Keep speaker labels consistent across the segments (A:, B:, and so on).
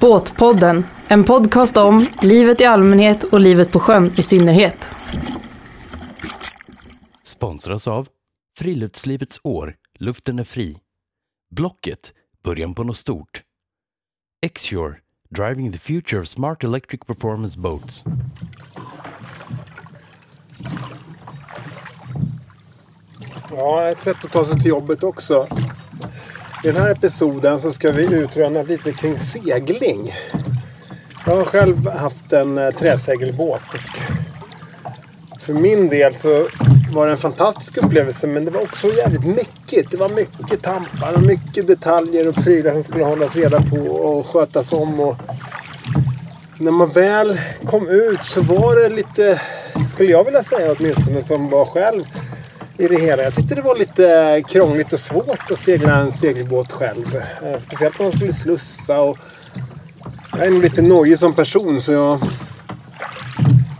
A: Båtpodden, en podcast om livet i allmänhet och livet på sjön i synnerhet.
B: Sponsras av Friluftslivets år, luften är fri. Blocket, början på något stort. Exure, driving the future of smart electric performance boats.
C: Ja, ett sätt att ta sig till jobbet också. I den här episoden så ska vi utröna lite kring segling. Jag har själv haft en eh, träsegelbåt. Och för min del så var det en fantastisk upplevelse men det var också jävligt mäckigt. Det var mycket tampar och mycket detaljer och prylar som skulle hållas reda på och skötas om. Och när man väl kom ut så var det lite, skulle jag vilja säga åtminstone, som var själv i det hela. Jag tyckte det var lite krångligt och svårt att segla en segelbåt själv. Eh, Speciellt när man skulle slussa och... Jag är nog lite nojig som person så jag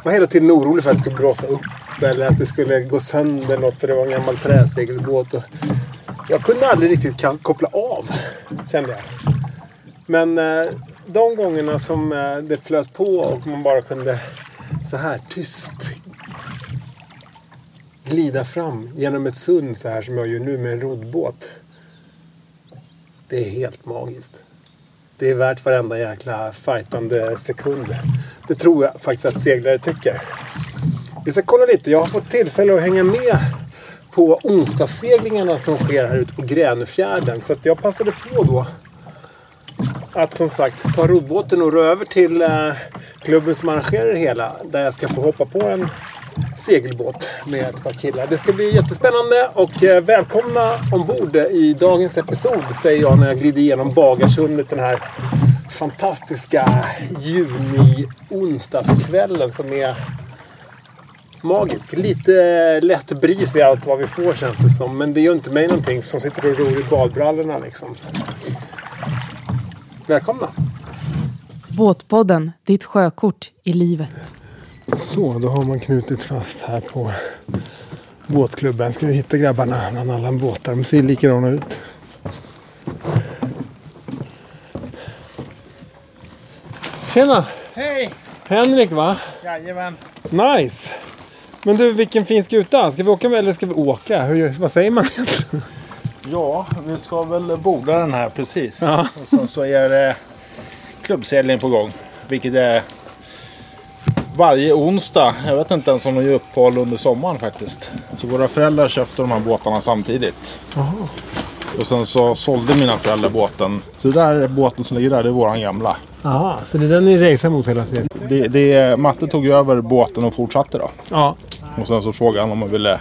C: var hela tiden orolig för att det skulle blåsa upp eller att det skulle gå sönder något för det var en gammal träsegelbåt. Och jag kunde aldrig riktigt ka- koppla av, kände jag. Men eh, de gångerna som eh, det flöt på och man bara kunde så här tyst glida fram genom ett sund så här som jag gör nu med en roddbåt. Det är helt magiskt. Det är värt varenda jäkla fightande sekund. Det tror jag faktiskt att seglare tycker. Vi ska kolla lite. Jag har fått tillfälle att hänga med på onsdagsseglingarna som sker här ute på Gränöfjärden. Så att jag passade på då att som sagt ta roddbåten och rå över till eh, klubben som arrangerar det hela. Där jag ska få hoppa på en segelbåt med ett par killar. Det ska bli jättespännande och eh, välkomna ombord i dagens episod säger jag när jag glider igenom Bagarsundet den här fantastiska juni-onsdagskvällen som är magisk. Lite eh, lätt bris i allt vad vi får känns det som. Men det gör inte mig någonting som sitter och ror i badbrallorna liksom. Välkomna!
A: Båtpodden, ditt sjökort i livet.
C: Så, då har man knutit fast här på båtklubben. Ska vi hitta grabbarna bland alla båtar? De ser likadana ut. Tjena!
D: Hej!
C: Henrik va?
D: Jajamän.
C: Nice! Men du, vilken fin skuta. Ska vi åka med eller ska vi åka? Hur, vad säger man?
D: Ja, vi ska väl borda den här precis. Och sen så är det klubbsegling på gång. Vilket är varje onsdag. Jag vet inte ens om de gör uppehåll under sommaren faktiskt. Så våra föräldrar köpte de här båtarna samtidigt. Och sen så sålde mina föräldrar båten. Så det där båten som ligger där, det är våran gamla.
C: Jaha, så det är den ni racear mot hela tiden?
D: Det, det är, Matte tog över båten och fortsatte då.
C: Ja.
D: Och sen så frågade han om man ville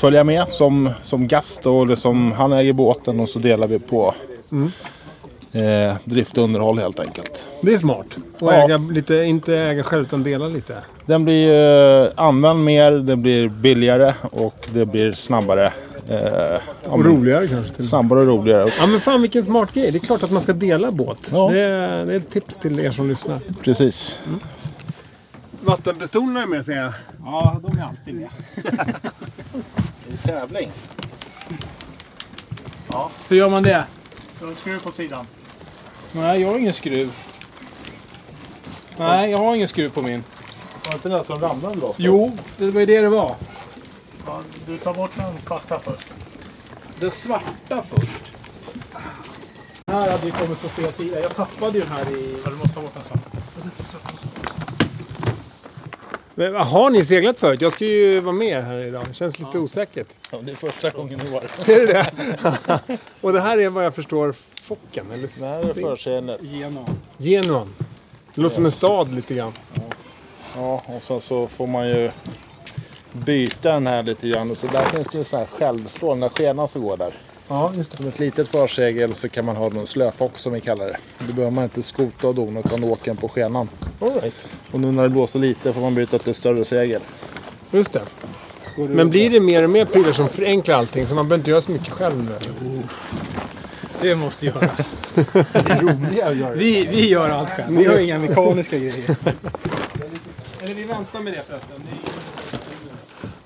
D: följa med som, som gast. Och liksom, han äger båten och så delar vi på eh, drift och underhåll helt enkelt.
C: Det är smart. Och
D: Ja.
C: äga lite, inte äga själv utan dela lite.
D: Den blir eh, använd mer, den blir billigare och det blir snabbare. Eh, ja, men
C: Och roligare kanske till och med.
D: Snabbare och roligare.
C: Ja men fan vilken smart grej. Det är klart att man ska dela båt.
D: Ja.
C: Det, är, det är ett tips till er som lyssnar.
D: Precis.
C: Vattenpistolerna är med ser jag.
D: Ja, de är alltid med. tävling.
E: Hur gör man det?
D: Skruv på sidan.
E: Nej, jag har ingen skruv. Nej, jag har ingen skruv på min.
D: Var inte den som ramlade då?
E: Jo, det var ju det det var.
D: Du tar bort den svarta först.
E: Den svarta först. Här hade vi kommit på fel sida. Jag tappade ju den här i... Ja, du måste ta bort den svarta.
C: Men, vad har ni seglat förut? Jag ska ju vara med här idag. Det känns lite osäkert.
D: det är första gången i år.
C: Och det här är vad jag förstår Focken eller
D: Det här är
C: Spring-
D: förseendet.
E: Genom.
C: Genuan. Det låter som en stad lite grann.
D: Ja, och sen så får man ju byta den här lite grann. Och Så där finns det ju sån här självstrålande skena som går där.
C: Ja, just det.
D: Som ett litet försegel så kan man ha någon slöfock som vi kallar det. Då behöver man inte skota och dona utan åka den på skenan.
C: All right.
D: Och nu när det blåser lite får man byta till ett större segel.
C: Just det. Men blir det mer och mer prylar som förenklar allting så man behöver inte göra så mycket själv nu?
E: Det måste göras. vi, vi gör allt själv. Vi har inga mekaniska grejer. Eller vi väntar med det förresten.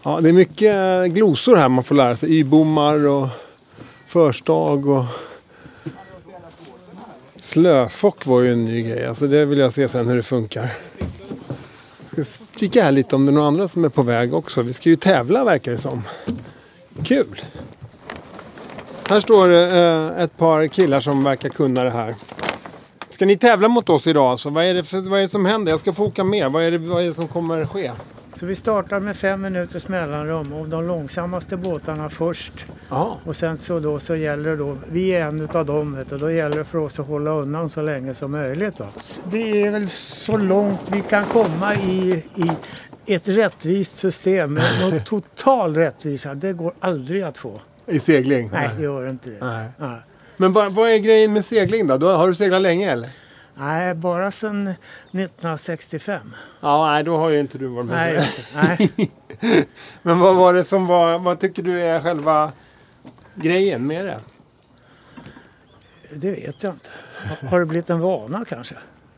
C: Ja, det är mycket eh, glosor här man får lära sig. Y-bommar och förstag och Slöfock var ju en ny grej. Alltså det vill jag se sen hur det funkar. Jag ska kika här lite om det är några andra som är på väg också. Vi ska ju tävla verkar det som. Kul! Här står eh, ett par killar som verkar kunna det här. Ska ni tävla mot oss idag? Alltså, vad, är det för, vad är det som händer? Jag ska få åka med. Vad är det, vad är det som kommer ske?
F: Så vi startar med fem minuters mellanrum och de långsammaste båtarna först.
C: Ja.
F: Och sen så då så gäller det då, vi är en utav dem vet du, då gäller det för oss att hålla undan så länge som möjligt. Va? Det är väl så långt vi kan komma i, i ett rättvist system. Men Någon total rättvisa, det går aldrig att få.
C: I segling?
F: Nej, det gör inte det.
C: Nej.
F: Nej.
C: Men vad, vad är grejen med segling då? då? Har du seglat länge eller?
F: Nej, bara sedan 1965.
C: Ja, nej då har ju inte du varit med.
F: Nej, nej.
C: Men vad var det som var, vad tycker du är själva grejen med det?
F: det vet jag inte. Har det blivit en vana kanske?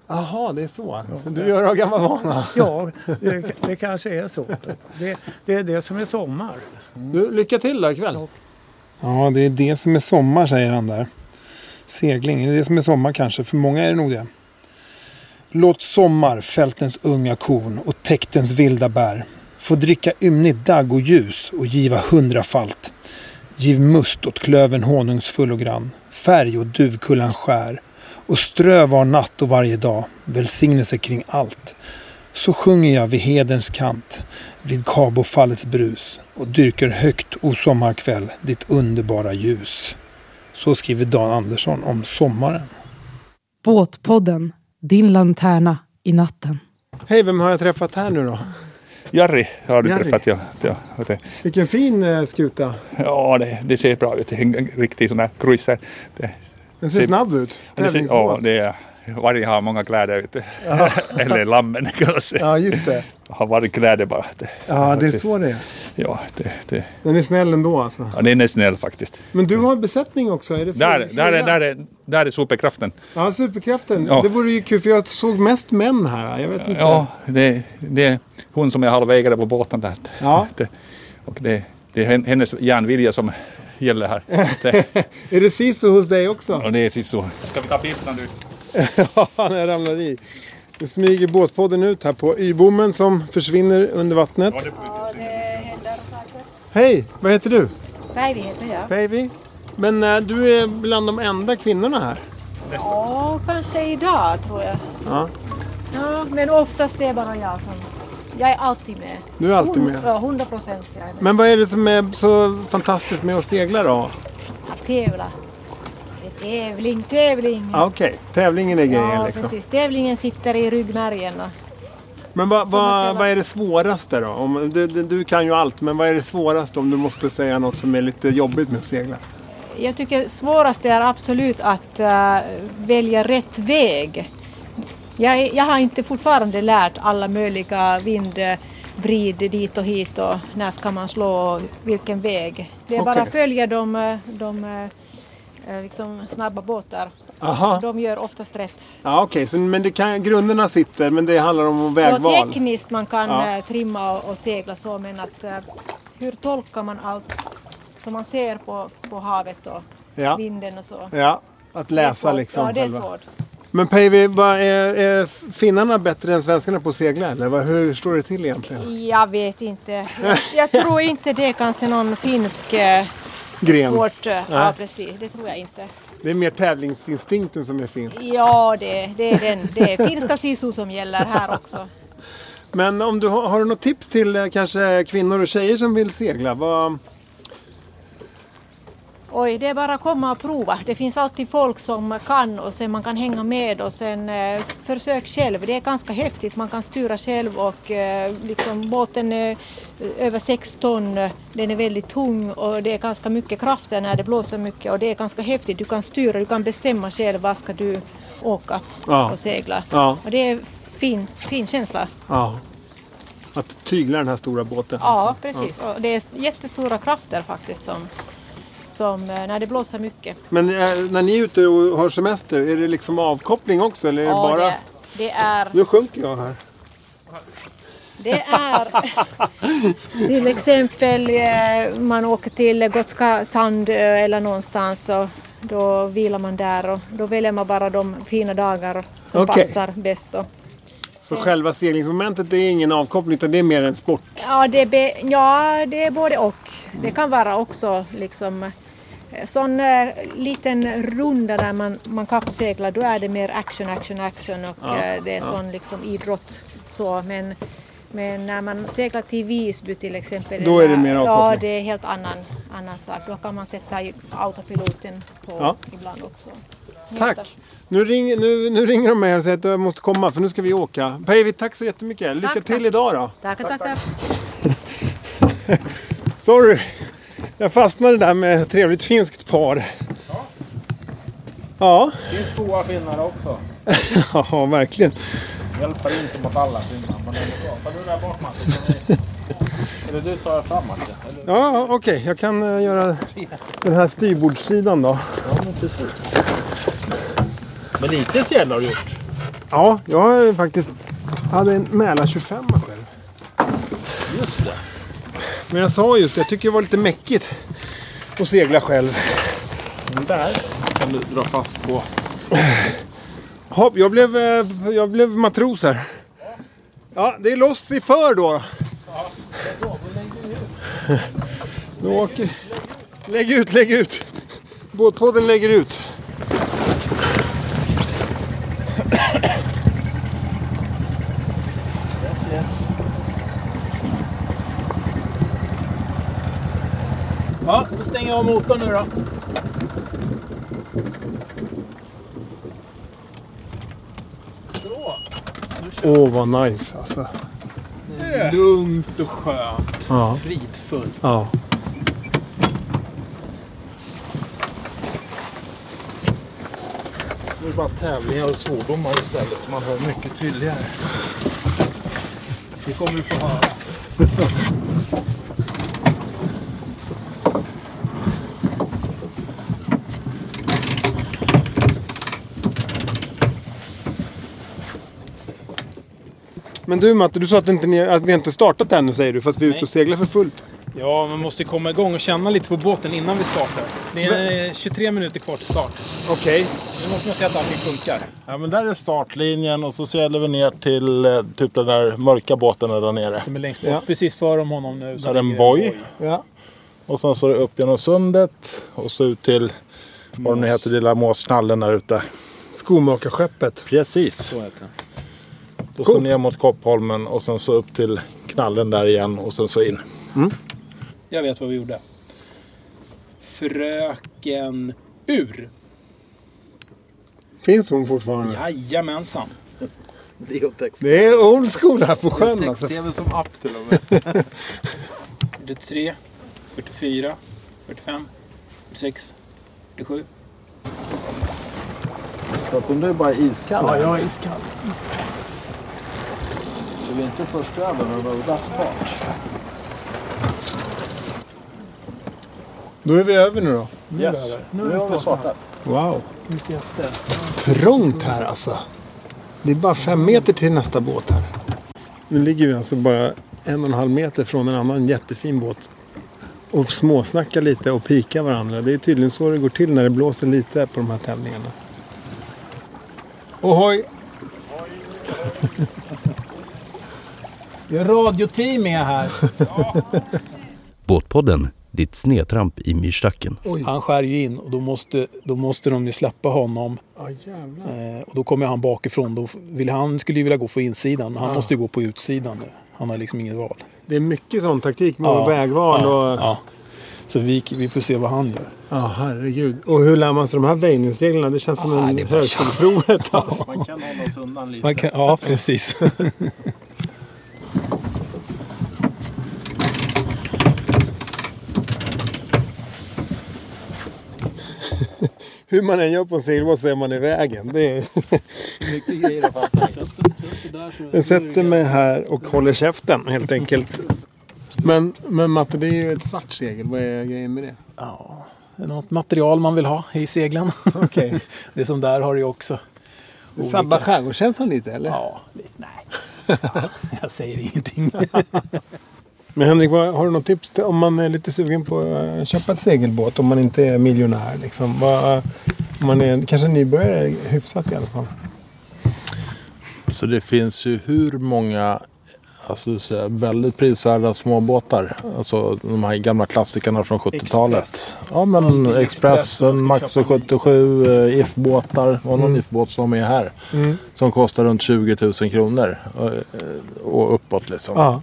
C: Jaha, det är så. så du gör av gammal vana.
F: Ja, det, det kanske är så. Det, det är det som är sommar.
C: Du, lycka till då ikväll. Ja, det är det som är sommar säger han där. Segling, det är det som är sommar kanske. För många är det nog det. Låt sommar fältens unga korn och täktens vilda bär få dricka ymnigt dagg och ljus och giva hundrafalt. Giv must åt klöven honungsfull och grann, färg och duvkullan skär och strö var natt och varje dag välsignelse kring allt. Så sjunger jag vid hederns kant vid Kabofallets brus och dyrker högt, o sommarkväll, ditt underbara ljus. Så skriver Dan Andersson om sommaren.
A: Båtpodden, din lanterna i natten.
C: Hej, vem har jag träffat här nu då?
G: Jari har du
C: Jari.
G: träffat. Ja, ja, Och det,
C: Vilken fin eh, skuta.
G: ja det, det ser bra ut. En riktig sån här cruiser. Det,
C: Den ser
G: Ser-
C: snabb ut.
G: men det ser, ja,
C: Tävlingsbåt.
G: det är, varg har många kläder. Vet du. Eller lammen kanske.
C: Ja, just det.
G: Har vargkläder bara. Det,
C: Ja, det är så det är.
G: Ja, det, det,
C: Den är snäll ändå alltså.
G: ja, den är snäll faktiskt.
C: Men du har besättning också. Är det för-
G: Där, där, är-
C: fråga?
G: där, är, där är superkraften.
C: Ja, superkraften.
G: Ja.
C: Det vore ju kul för jag såg mest män här. Jag vet inte.
G: Ja, det, det är hon som är halvägare på båten där.
C: Ja.
G: Det, och det, det är hennes järnvilja som gäller här. Det,
C: Är det sisu hos dig också?
G: och det är så. Ska vi ta filten nu?
C: Ja, när jag ramlar i. Nu smyger båtpodden ut här på Y-bommen som försvinner under vattnet. Hej, vad heter du?
H: Päivi heter jag.
C: Baby. Men eh, du är bland de enda kvinnorna här.
H: Ja, kanske idag tror jag.
C: Ja.
H: Ja, men oftast det är bara jag som... Jag är alltid med.
C: Du är alltid
H: Hund-
C: med.
H: Ja, hundra procent jag är med.
C: Men vad är det som är så fantastiskt med att segla då?
H: Att tävla. Det är tävling, tävling.
C: Ja, Ah, Okej, tävlingen är grejen
H: Ja,
C: liksom.
H: precis. Tävlingen sitter i ryggmärgen. och-
C: Men vad,
H: man
C: vad,
H: kallar-
C: vad är det svåraste då? Om, du, du, du kan ju allt, men vad är det svåraste om du måste säga något som är lite jobbigt med att segla?
H: Jag tycker svårast är absolut att äh, välja rätt väg. Jag, är- jag har inte fortfarande lärt alla möjliga vind, eh, vrid dit och hit och när ska man slå och vilken väg. Det är bara
C: Okej.
H: följa de, eh, de eh, eh, liksom snabba båtar.
C: Aha.
H: De gör oftast rätt.
C: Ja, Ah, okej, så- men det kan, grunderna sitter, men det handlar om
H: Och
C: vägval.
H: tekniskt man kan
C: Ja.
H: eh, trimma och, och segla så men att eh, hur tolkar man allt som man ser på, på havet och
C: Ja.
H: vinden och så.
C: Ja, att
H: Det är
C: läsa
H: svårt.
C: liksom.
H: Ja, det är
C: själva.
H: svårt.
C: Men Päivi, vad är, är finnarna bättre än svenskarna på att segla eller vad, hur står det till egentligen?
H: Jag vet inte. Jag tror inte det är kanske någon finsk eh,
C: Gren.
H: sport. eh, Ja, precis. Det tror jag inte.
C: Det är mer tävlingsinstinkten som är finsk.
H: Ja, det, det är den. Det är finska sisu som gäller här också.
C: Men om du har, har du något tips till eh, kanske kvinnor och tjejer som vill segla? Vad,
H: Oj, det är bara att komma och prova. Det finns alltid folk som kan och sen man kan hänga med och sen eh, försök själv. Det är ganska häftigt. Man kan styra själv och eh, liksom, båten är över 6 ton. Den är väldigt tung och det är ganska mycket krafter när det blåser mycket och det är ganska häftigt. Du kan styra, du kan bestämma själv vad ska du åka
C: Ja.
H: och segla.
C: Ja.
H: Och det är fin, fin känsla.
C: ja, att tygla den här stora båten.
H: Ja, precis. Och det är jättestora krafter faktiskt som, som eh, när det blåser mycket.
C: Men eh, när ni är ute och har semester, är det liksom avkoppling också eller är det bara...
H: det, det är...
C: Nu sjunker jag här.
H: Det är till exempel eh, man åker till Gotska sand eh, eller någonstans och Då vilar man där och då väljer man bara de fina dagar som
C: Okej.
H: passar bäst. Då.
C: Så själva seglingsmomentet det är ingen avkoppling utan det är mer en sport?
H: Ja, det är, be, ja, det är både och. Det kan vara också liksom eh, sån eh, liten runda där man, man kappseglar, då är det mer action, action, action och eh, det är sån liksom idrott. Så, men, men när man seglar till Visby till exempel.
C: Då är det
H: eller-
C: mer
H: Ja,
C: avkoppling.
H: det är helt annan, annan sak. Då kan man sätta i- autopiloten på
C: Ja.
H: ibland också.
C: Tack! Nu, ring, nu, nu ringer de mig och säger att jag måste komma för nu ska vi åka. Breivik, tack så jättemycket. Lycka
H: Tack,
C: till
H: tack.
C: idag då.
H: Tack, tack, tack.
C: Sorry! Jag fastnade där med ett trevligt finskt par. Ja.
D: Det finns goa finnar också.
C: Ja, verkligen.
D: Hjälper inte mot alla finnar. Men det är bra. Tar du där bak Matte? Kan vi- Eller du tar fram Matte? Eller?
C: Ja, ja, okej. Jag kan eh, göra den här styrbordssidan då.
D: Ja, men precis. Men lite sedlar har du gjort.
C: Ja, jag har ju faktiskt... Jag hade en Mälar 25 själv.
D: Just det.
C: Men jag sa just det, jag tycker det var lite mäckigt att segla själv.
D: Den där kan du dra fast på.
C: Hopp, jag blev, eh, jag blev matros här. Ja, det är loss i för då. Nu åker... Lägg ut, lägg ut! Båtpodden lägger ut.
D: Yes, yes.
E: Ja, då stänger jag av motorn nu då. Så.
C: Åh, vad nice alltså.
E: Lugnt och skönt.
C: Ja.
E: Fridfullt.
C: ja.
D: Nu är det bara tävlingar och svordomar istället så man hör mycket tydligare.
E: Det kommer du få höra.
C: Men du Matte, du sa att, inte ni, att vi inte startat ännu säger du, fast vi är ute
E: Nej.
C: och seglar för fullt.
E: Ja, man måste komma igång och känna lite på båten innan vi startar. Det är eh, 23 minuter kvar till start.
C: Okej.
E: Nu måste man se att allting funkar.
D: Ja men där är startlinjen och så seglar vi ner till eh, typ den där mörka båten där nere.
E: Som är längst bort. Precis före honom nu. så
D: Där är en
E: ligger det
D: boj.
C: Ja.
D: Och sen så är det upp genom sundet och så ut till vad det nu heter, lilla måsnallen där ute.
C: Skomakarskeppet.
D: Precis. Och så
C: Coolt.
D: ner mot Koppholmen och sen så upp till knallen där igen och sen så in.
E: Jag vet vad vi gjorde. Fröken Ur.
C: Finns hon fortfarande?
E: Jajamensan.
C: Det är old school här på sjön alltså.
D: väl som app till och med.
E: 43, 44, 45, 46, 47.
D: Så att om du är bara iskall här,
E: jag är iskall.
D: så vi är inte först över när det var dags fart.
C: Då är vi över nu då.
D: Yes, nu har vi startat.
C: Wow. Trångt här alltså. Det är bara fem meter till nästa båt här. Nu ligger vi alltså bara en och en halv meter från en annan jättefin båt. Och småsnackar lite och pikar varandra. Det är tydligen så det går till när det blåser lite på de här tävlingarna. Ohoj!
E: Vi har radioteam med här.
B: Båtpodden, ditt snedtramp i myrstacken.
E: Han skär ju in och då måste, då måste de ju släppa honom.
C: Ja jävlar.
E: Eh, och då kommer han bakifrån. Då vill, han skulle ju vilja gå på insidan men han måste ju gå på utsidan nu. Han har liksom inget val.
C: Det är mycket sån taktik med
E: Ja,
C: vägval
E: ja,
C: och...
E: ja. Så vi, vi får se vad han gör.
C: Ja, herregud. Och hur lär man sig de här väjningsreglerna? Det känns som en högskoleprovet alltså.
D: Man kan hålla oss undan lite.
E: Man kan, ja, precis.
C: Hur man än gör på en segelbåt så är man i vägen. Det är...
D: Mycket grejer har fastnat.
C: Jag sätter mig här och håller käften helt enkelt. Men, men Matte, det är ju ett svart segel. Vad är grejen med det?
E: Det är något material man vill ha i seglen.
C: Okej.
E: Det som där har det ju också.
C: Det sabbar skärgårdskänslan lite, eller?
E: Ja, nej. Jag säger ingenting.
C: Men Henrik, vad, har du något tips till, om man är lite sugen på att eh, köpa ett segelbåt? Om man inte är miljonär liksom. Vad, eh, om man är kanske nybörjare hyfsat i alla fall.
D: Så det finns ju hur många alltså, så här, väldigt prisvärda småbåtar. Alltså de här gamla klassikerna från 70-talet.
E: Express.
D: Ja men
E: Express,
D: Expressen,
E: man ska
D: Maxo
E: köpa
D: 77, eh, IF-båtar. Det var någon IF-båt som är här.
C: Mm.
D: Som kostar runt 20 000 kronor. eh, Och uppåt liksom.
C: Ja.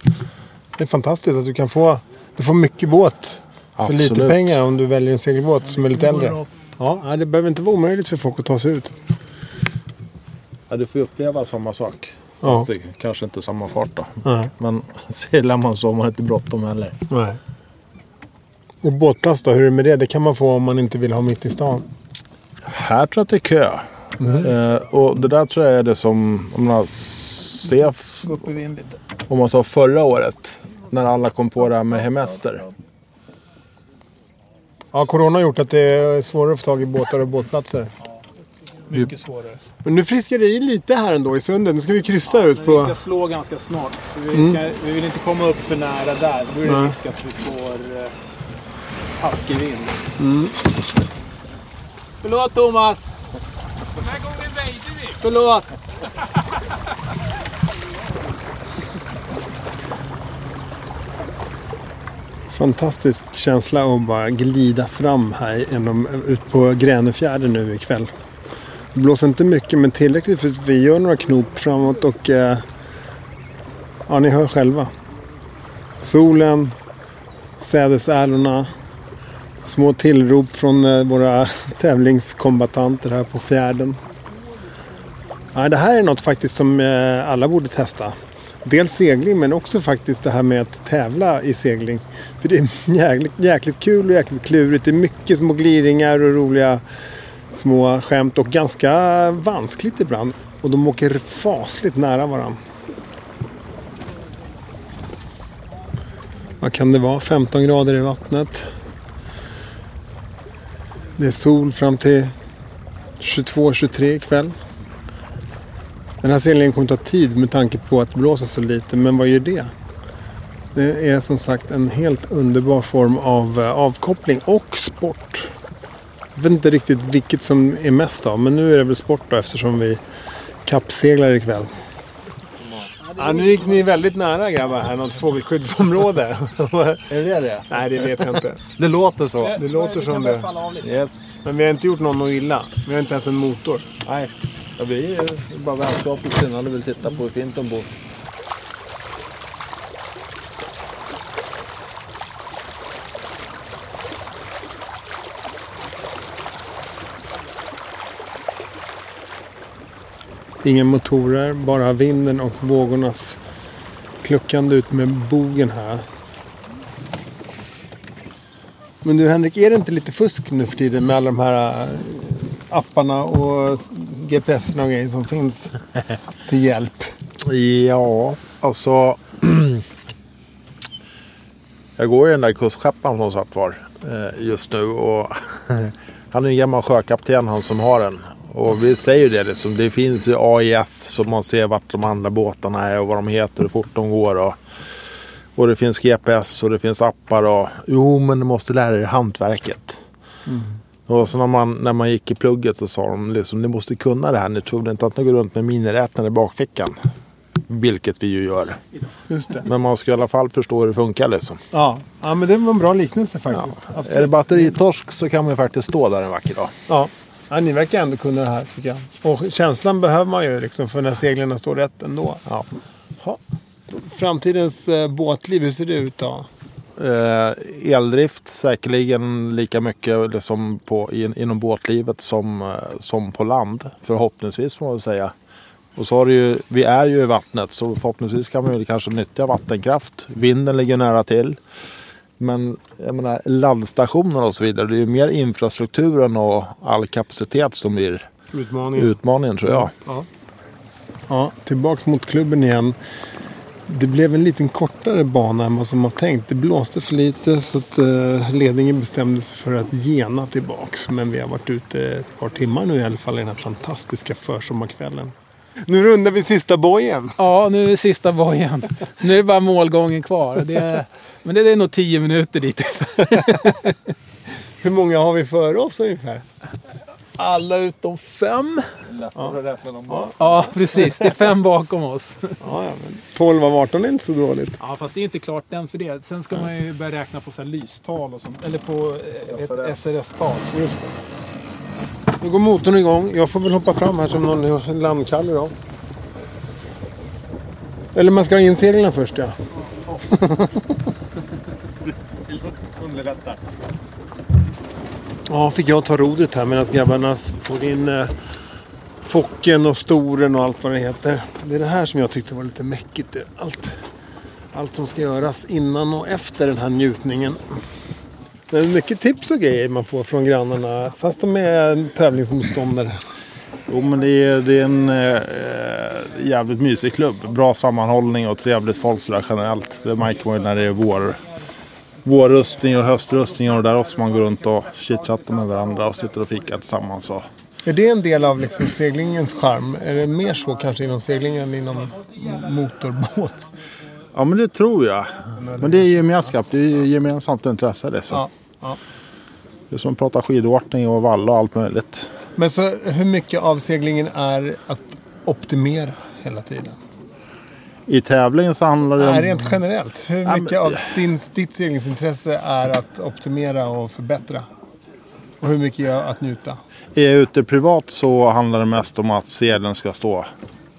C: Det är fantastiskt att du kan få du får mycket båt för lite
D: Absolut.
C: pengar om du väljer en segelbåt som är lite äldre. Ja, nej, det behöver inte vara omöjligt för folk att ta sig ut.
D: Ja, du får ju uppleva samma sak.
C: Ja.
D: Fast det är Kanske inte samma fart då.
C: Nej.
D: Men seglar man så har man inte bråttom heller.
C: Nej. Och båtplats då, hur är det med det? Det kan man få om man inte vill ha mitt i stan.
D: Här tror jag att det är kö. Eh, och det där tror jag är det som, om man ser, f-
E: Gå upp i vind lite.
D: om man tar förra året. När alla kom på det här med hemester.
C: Ja, corona har gjort att det är svårare att få tag i båtar och båtplatser.
E: Mycket svårare.
C: Men nu friskar det i lite här ändå i sundet. Nu ska vi kryssa ut
E: Men vi
C: på...
E: ska slå ganska snart. för Vi, ska, vi vill inte komma upp för nära där. Då är det risk att vi får eh, taskig vind. Mm. Förlåt Thomas! Den här gången väjde vi. Förlåt!
C: Fantastisk känsla att bara glida fram här genom, ut på Gränefjärden nu ikväll. Det blåser inte mycket men tillräckligt för att vi gör några knop framåt och eh, ja, ni hör själva. Solen, sädesärlorna, små tillrop från eh, våra tävlingskombatanter här på fjärden. Ja, det här är något faktiskt som eh, alla borde testa. Dels segling men också faktiskt det här med att tävla i segling. För det är jäkligt, jäkligt kul och jäkligt klurigt. Det är mycket små gliringar och roliga små skämt och ganska vanskligt ibland. Och de åker fasligt nära varandra. Vad kan det vara? 15 grader i vattnet. Det är sol fram till 22-23 ikväll. Den här seglingen kommer ta tid med tanke på att det blåser så lite, men vad gör det? Det är som sagt en helt underbar form av eh, avkoppling och sport. Jag vet inte riktigt vilket som är mest av, men nu är det väl sport då eftersom vi kappseglar ikväll. Ja, nu gick ni väldigt nära grabbar här, något fågelskyddsområde.
D: Är det det?
C: Nej, det vet jag inte.
D: Det låter så.
C: Det låter som det.
D: Yes.
C: Men vi har inte gjort någon något illa. Vi har inte ens en motor.
D: Nej. Ja, vi är bara vänskapligt sinnade och vill titta på hur fint de bor.
C: Inga motorer, bara vinden och vågornas kluckande ut med bogen här. Men du Henrik, är det inte lite fusk nu för tiden med alla de här eh, apparna och GPSerna och grejer som finns till hjälp?
D: Ja, alltså. Jag går i den där kustskeppan som satt var eh, just nu. Och han är en gammal sjökapten han som har den. Och vi säger ju det liksom. Det finns ju AIS så man ser vart de andra båtarna är och vad de heter och hur fort de går. Och, och det finns GPS och det finns appar. Och, jo, men du måste lära dig hantverket. Mm. Och så när man, när man gick i plugget så sa de liksom, ni måste kunna det här. Ni trodde inte att ni går runt med miniräknare i bakfickan. Vilket vi ju gör.
C: Just det.
D: Men man ska i alla fall förstå hur det funkar liksom.
C: Ja, ja men det var en bra liknelse
D: Ja.
C: faktiskt. Ja.
D: Är det batteritorsk så kan man ju faktiskt stå där en vacker dag.
C: Ja. ja, ni verkar ändå kunna det här tycker jag. Och känslan behöver man ju liksom för när seglarna står rätt ändå.
D: Ja.
C: Ja. Framtidens eh, båtliv, hur ser det ut då?
D: Eh, eldrift säkerligen lika mycket liksom på, in, inom båtlivet som, eh, som på land. Förhoppningsvis får man väl säga. Och så har det ju, vi är ju i vattnet så förhoppningsvis kan man ju kanske nyttja vattenkraft. Vinden ligger nära till. Men jag menar, laddstationer och så vidare. Det är ju mer infrastrukturen och all kapacitet som blir
C: Utmaningen.
D: utmaningen tror jag.
C: Ja, tillbaks mot klubben igen. Det blev en liten kortare bana än vad som var tänkt. Det blåste för lite så att eh, ledningen bestämde sig för att gena tillbaks. Men vi har varit ute ett par timmar nu i alla fall i den här fantastiska försommarkvällen. Nu rundar vi sista bojen.
E: Ja, nu är sista bojen. Så nu är det bara målgången kvar. Och Det, men det är nog tio minuter dit.
C: Hur många har vi för oss ungefär?
E: Alla utom fem.
D: Ja.
E: Ja, precis. Det är fem bakom oss.
C: Ja, ja, men 12 av 18 är inte så dåligt.
E: Ja, fast det är inte klart än för det. Sen ska man ju börja räkna på så här lystal och sånt. Eller på eh, ett
D: SRS.
E: SRS-tal.
C: Nu går motorn igång. Jag får väl hoppa fram här som någon landkalle då. Eller man ska ha in seglen först ja.
D: Underlättar.
C: Ja, fick jag ta rodet här medan grabbarna tog in eh, Focken och Storen och allt vad det heter. Det är det här som jag tyckte var lite mäckigt. Det är Allt, allt som ska göras innan och efter den här njutningen. Det är mycket tips och grejer man får från grannarna fast de är tävlingsmotståndare.
D: Jo, men det är, det är en eh, jävligt mysig klubb. Bra sammanhållning och trevligt folk sådär generellt. Det märker man ju när det är vår, vårrustning och höstrustning. Och där också man går runt och chitchattar med varandra och sitter och fikar tillsammans. Och,
C: Är det en del av liksom seglingens charm? Är det mer så kanske inom seglingen än inom motorbåt?
D: ja, men det tror jag. Men det är gemenskap. Det är gemensamt intresse. Det är, så.
C: Ja, ja.
D: det är som att prata skidåkning och valla och allt möjligt.
C: Men så hur mycket av seglingen är att optimera hela tiden?
D: I tävlingen så handlar det
C: Nej,
D: om...
C: rent generellt. Hur
D: men-
C: mycket av din, ditt seglingsintresse är att optimera och förbättra? Och hur mycket gör att njuta?
D: Är jag ute privat så handlar det mest om att sedeln ska stå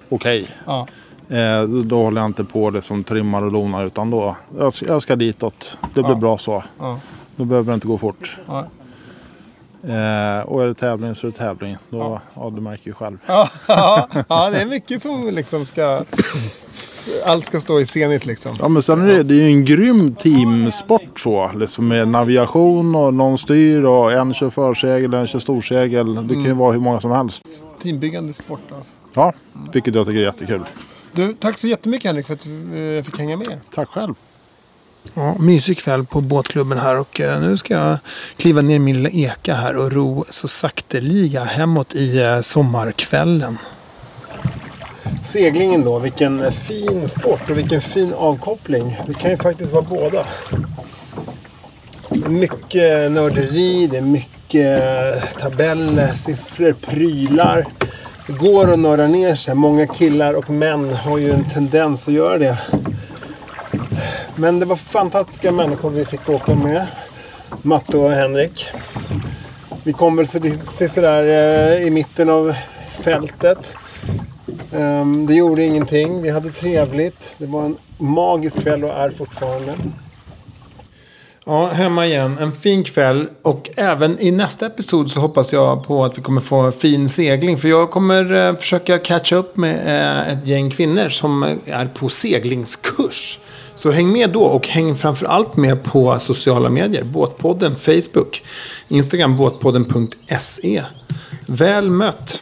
D: okej.
C: Ja.
D: Eh, då- då håller jag inte på det som trimmar och donar utan då jag ska, jag ska ditåt. Det blir bra så.
C: Ja.
D: Då behöver det inte gå fort.
C: Ja.
D: Eh, och är det tävling så är det tävling. Då, ja. du märker ju själv.
C: ja, ja, det är mycket som liksom ska... Allt ska stå i scenigt liksom.
D: Ja men sen är det, det är ju en grym teamsport så. Liksom med navigation och någon styr och en kör försegel, en kör storsegel. Det
C: Mm.
D: kan ju vara hur många som helst.
C: Teambyggande sport alltså.
D: Ja, vilket jag tycker är jättekul.
C: Du, tack så jättemycket Henrik för att eh, jag fick hänga med.
D: Tack själv.
C: Ja, mysig kväll på båtklubben här och eh, nu ska jag kliva ner i min lilla eka här och ro så sakteliga hemåt i eh, sommarkvällen. Seglingen då, vilken fin sport och vilken fin avkoppling. Det kan ju faktiskt vara båda. Mycket nörderi, det är mycket tabeller, siffror, prylar. Det går att nörda ner sig. Många killar och män har ju en tendens att göra det. Men det var fantastiska människor vi fick åka med. Matte och Henrik. Vi kom väl så- till sådär eh, i mitten av fältet. Ehm, Det gjorde ingenting. Vi hade trevligt. Det var en magisk kväll och är fortfarande. Ja, hemma igen. En fin kväll. Och även i nästa episod så hoppas jag på att vi kommer få fin segling. För jag kommer eh, försöka catcha upp med eh, ett gäng kvinnor som eh, är på seglingskurs. Så häng med då och häng framför allt med på sociala medier. Båtpodden Facebook, Instagram båtpodden.se. E. Väl mött!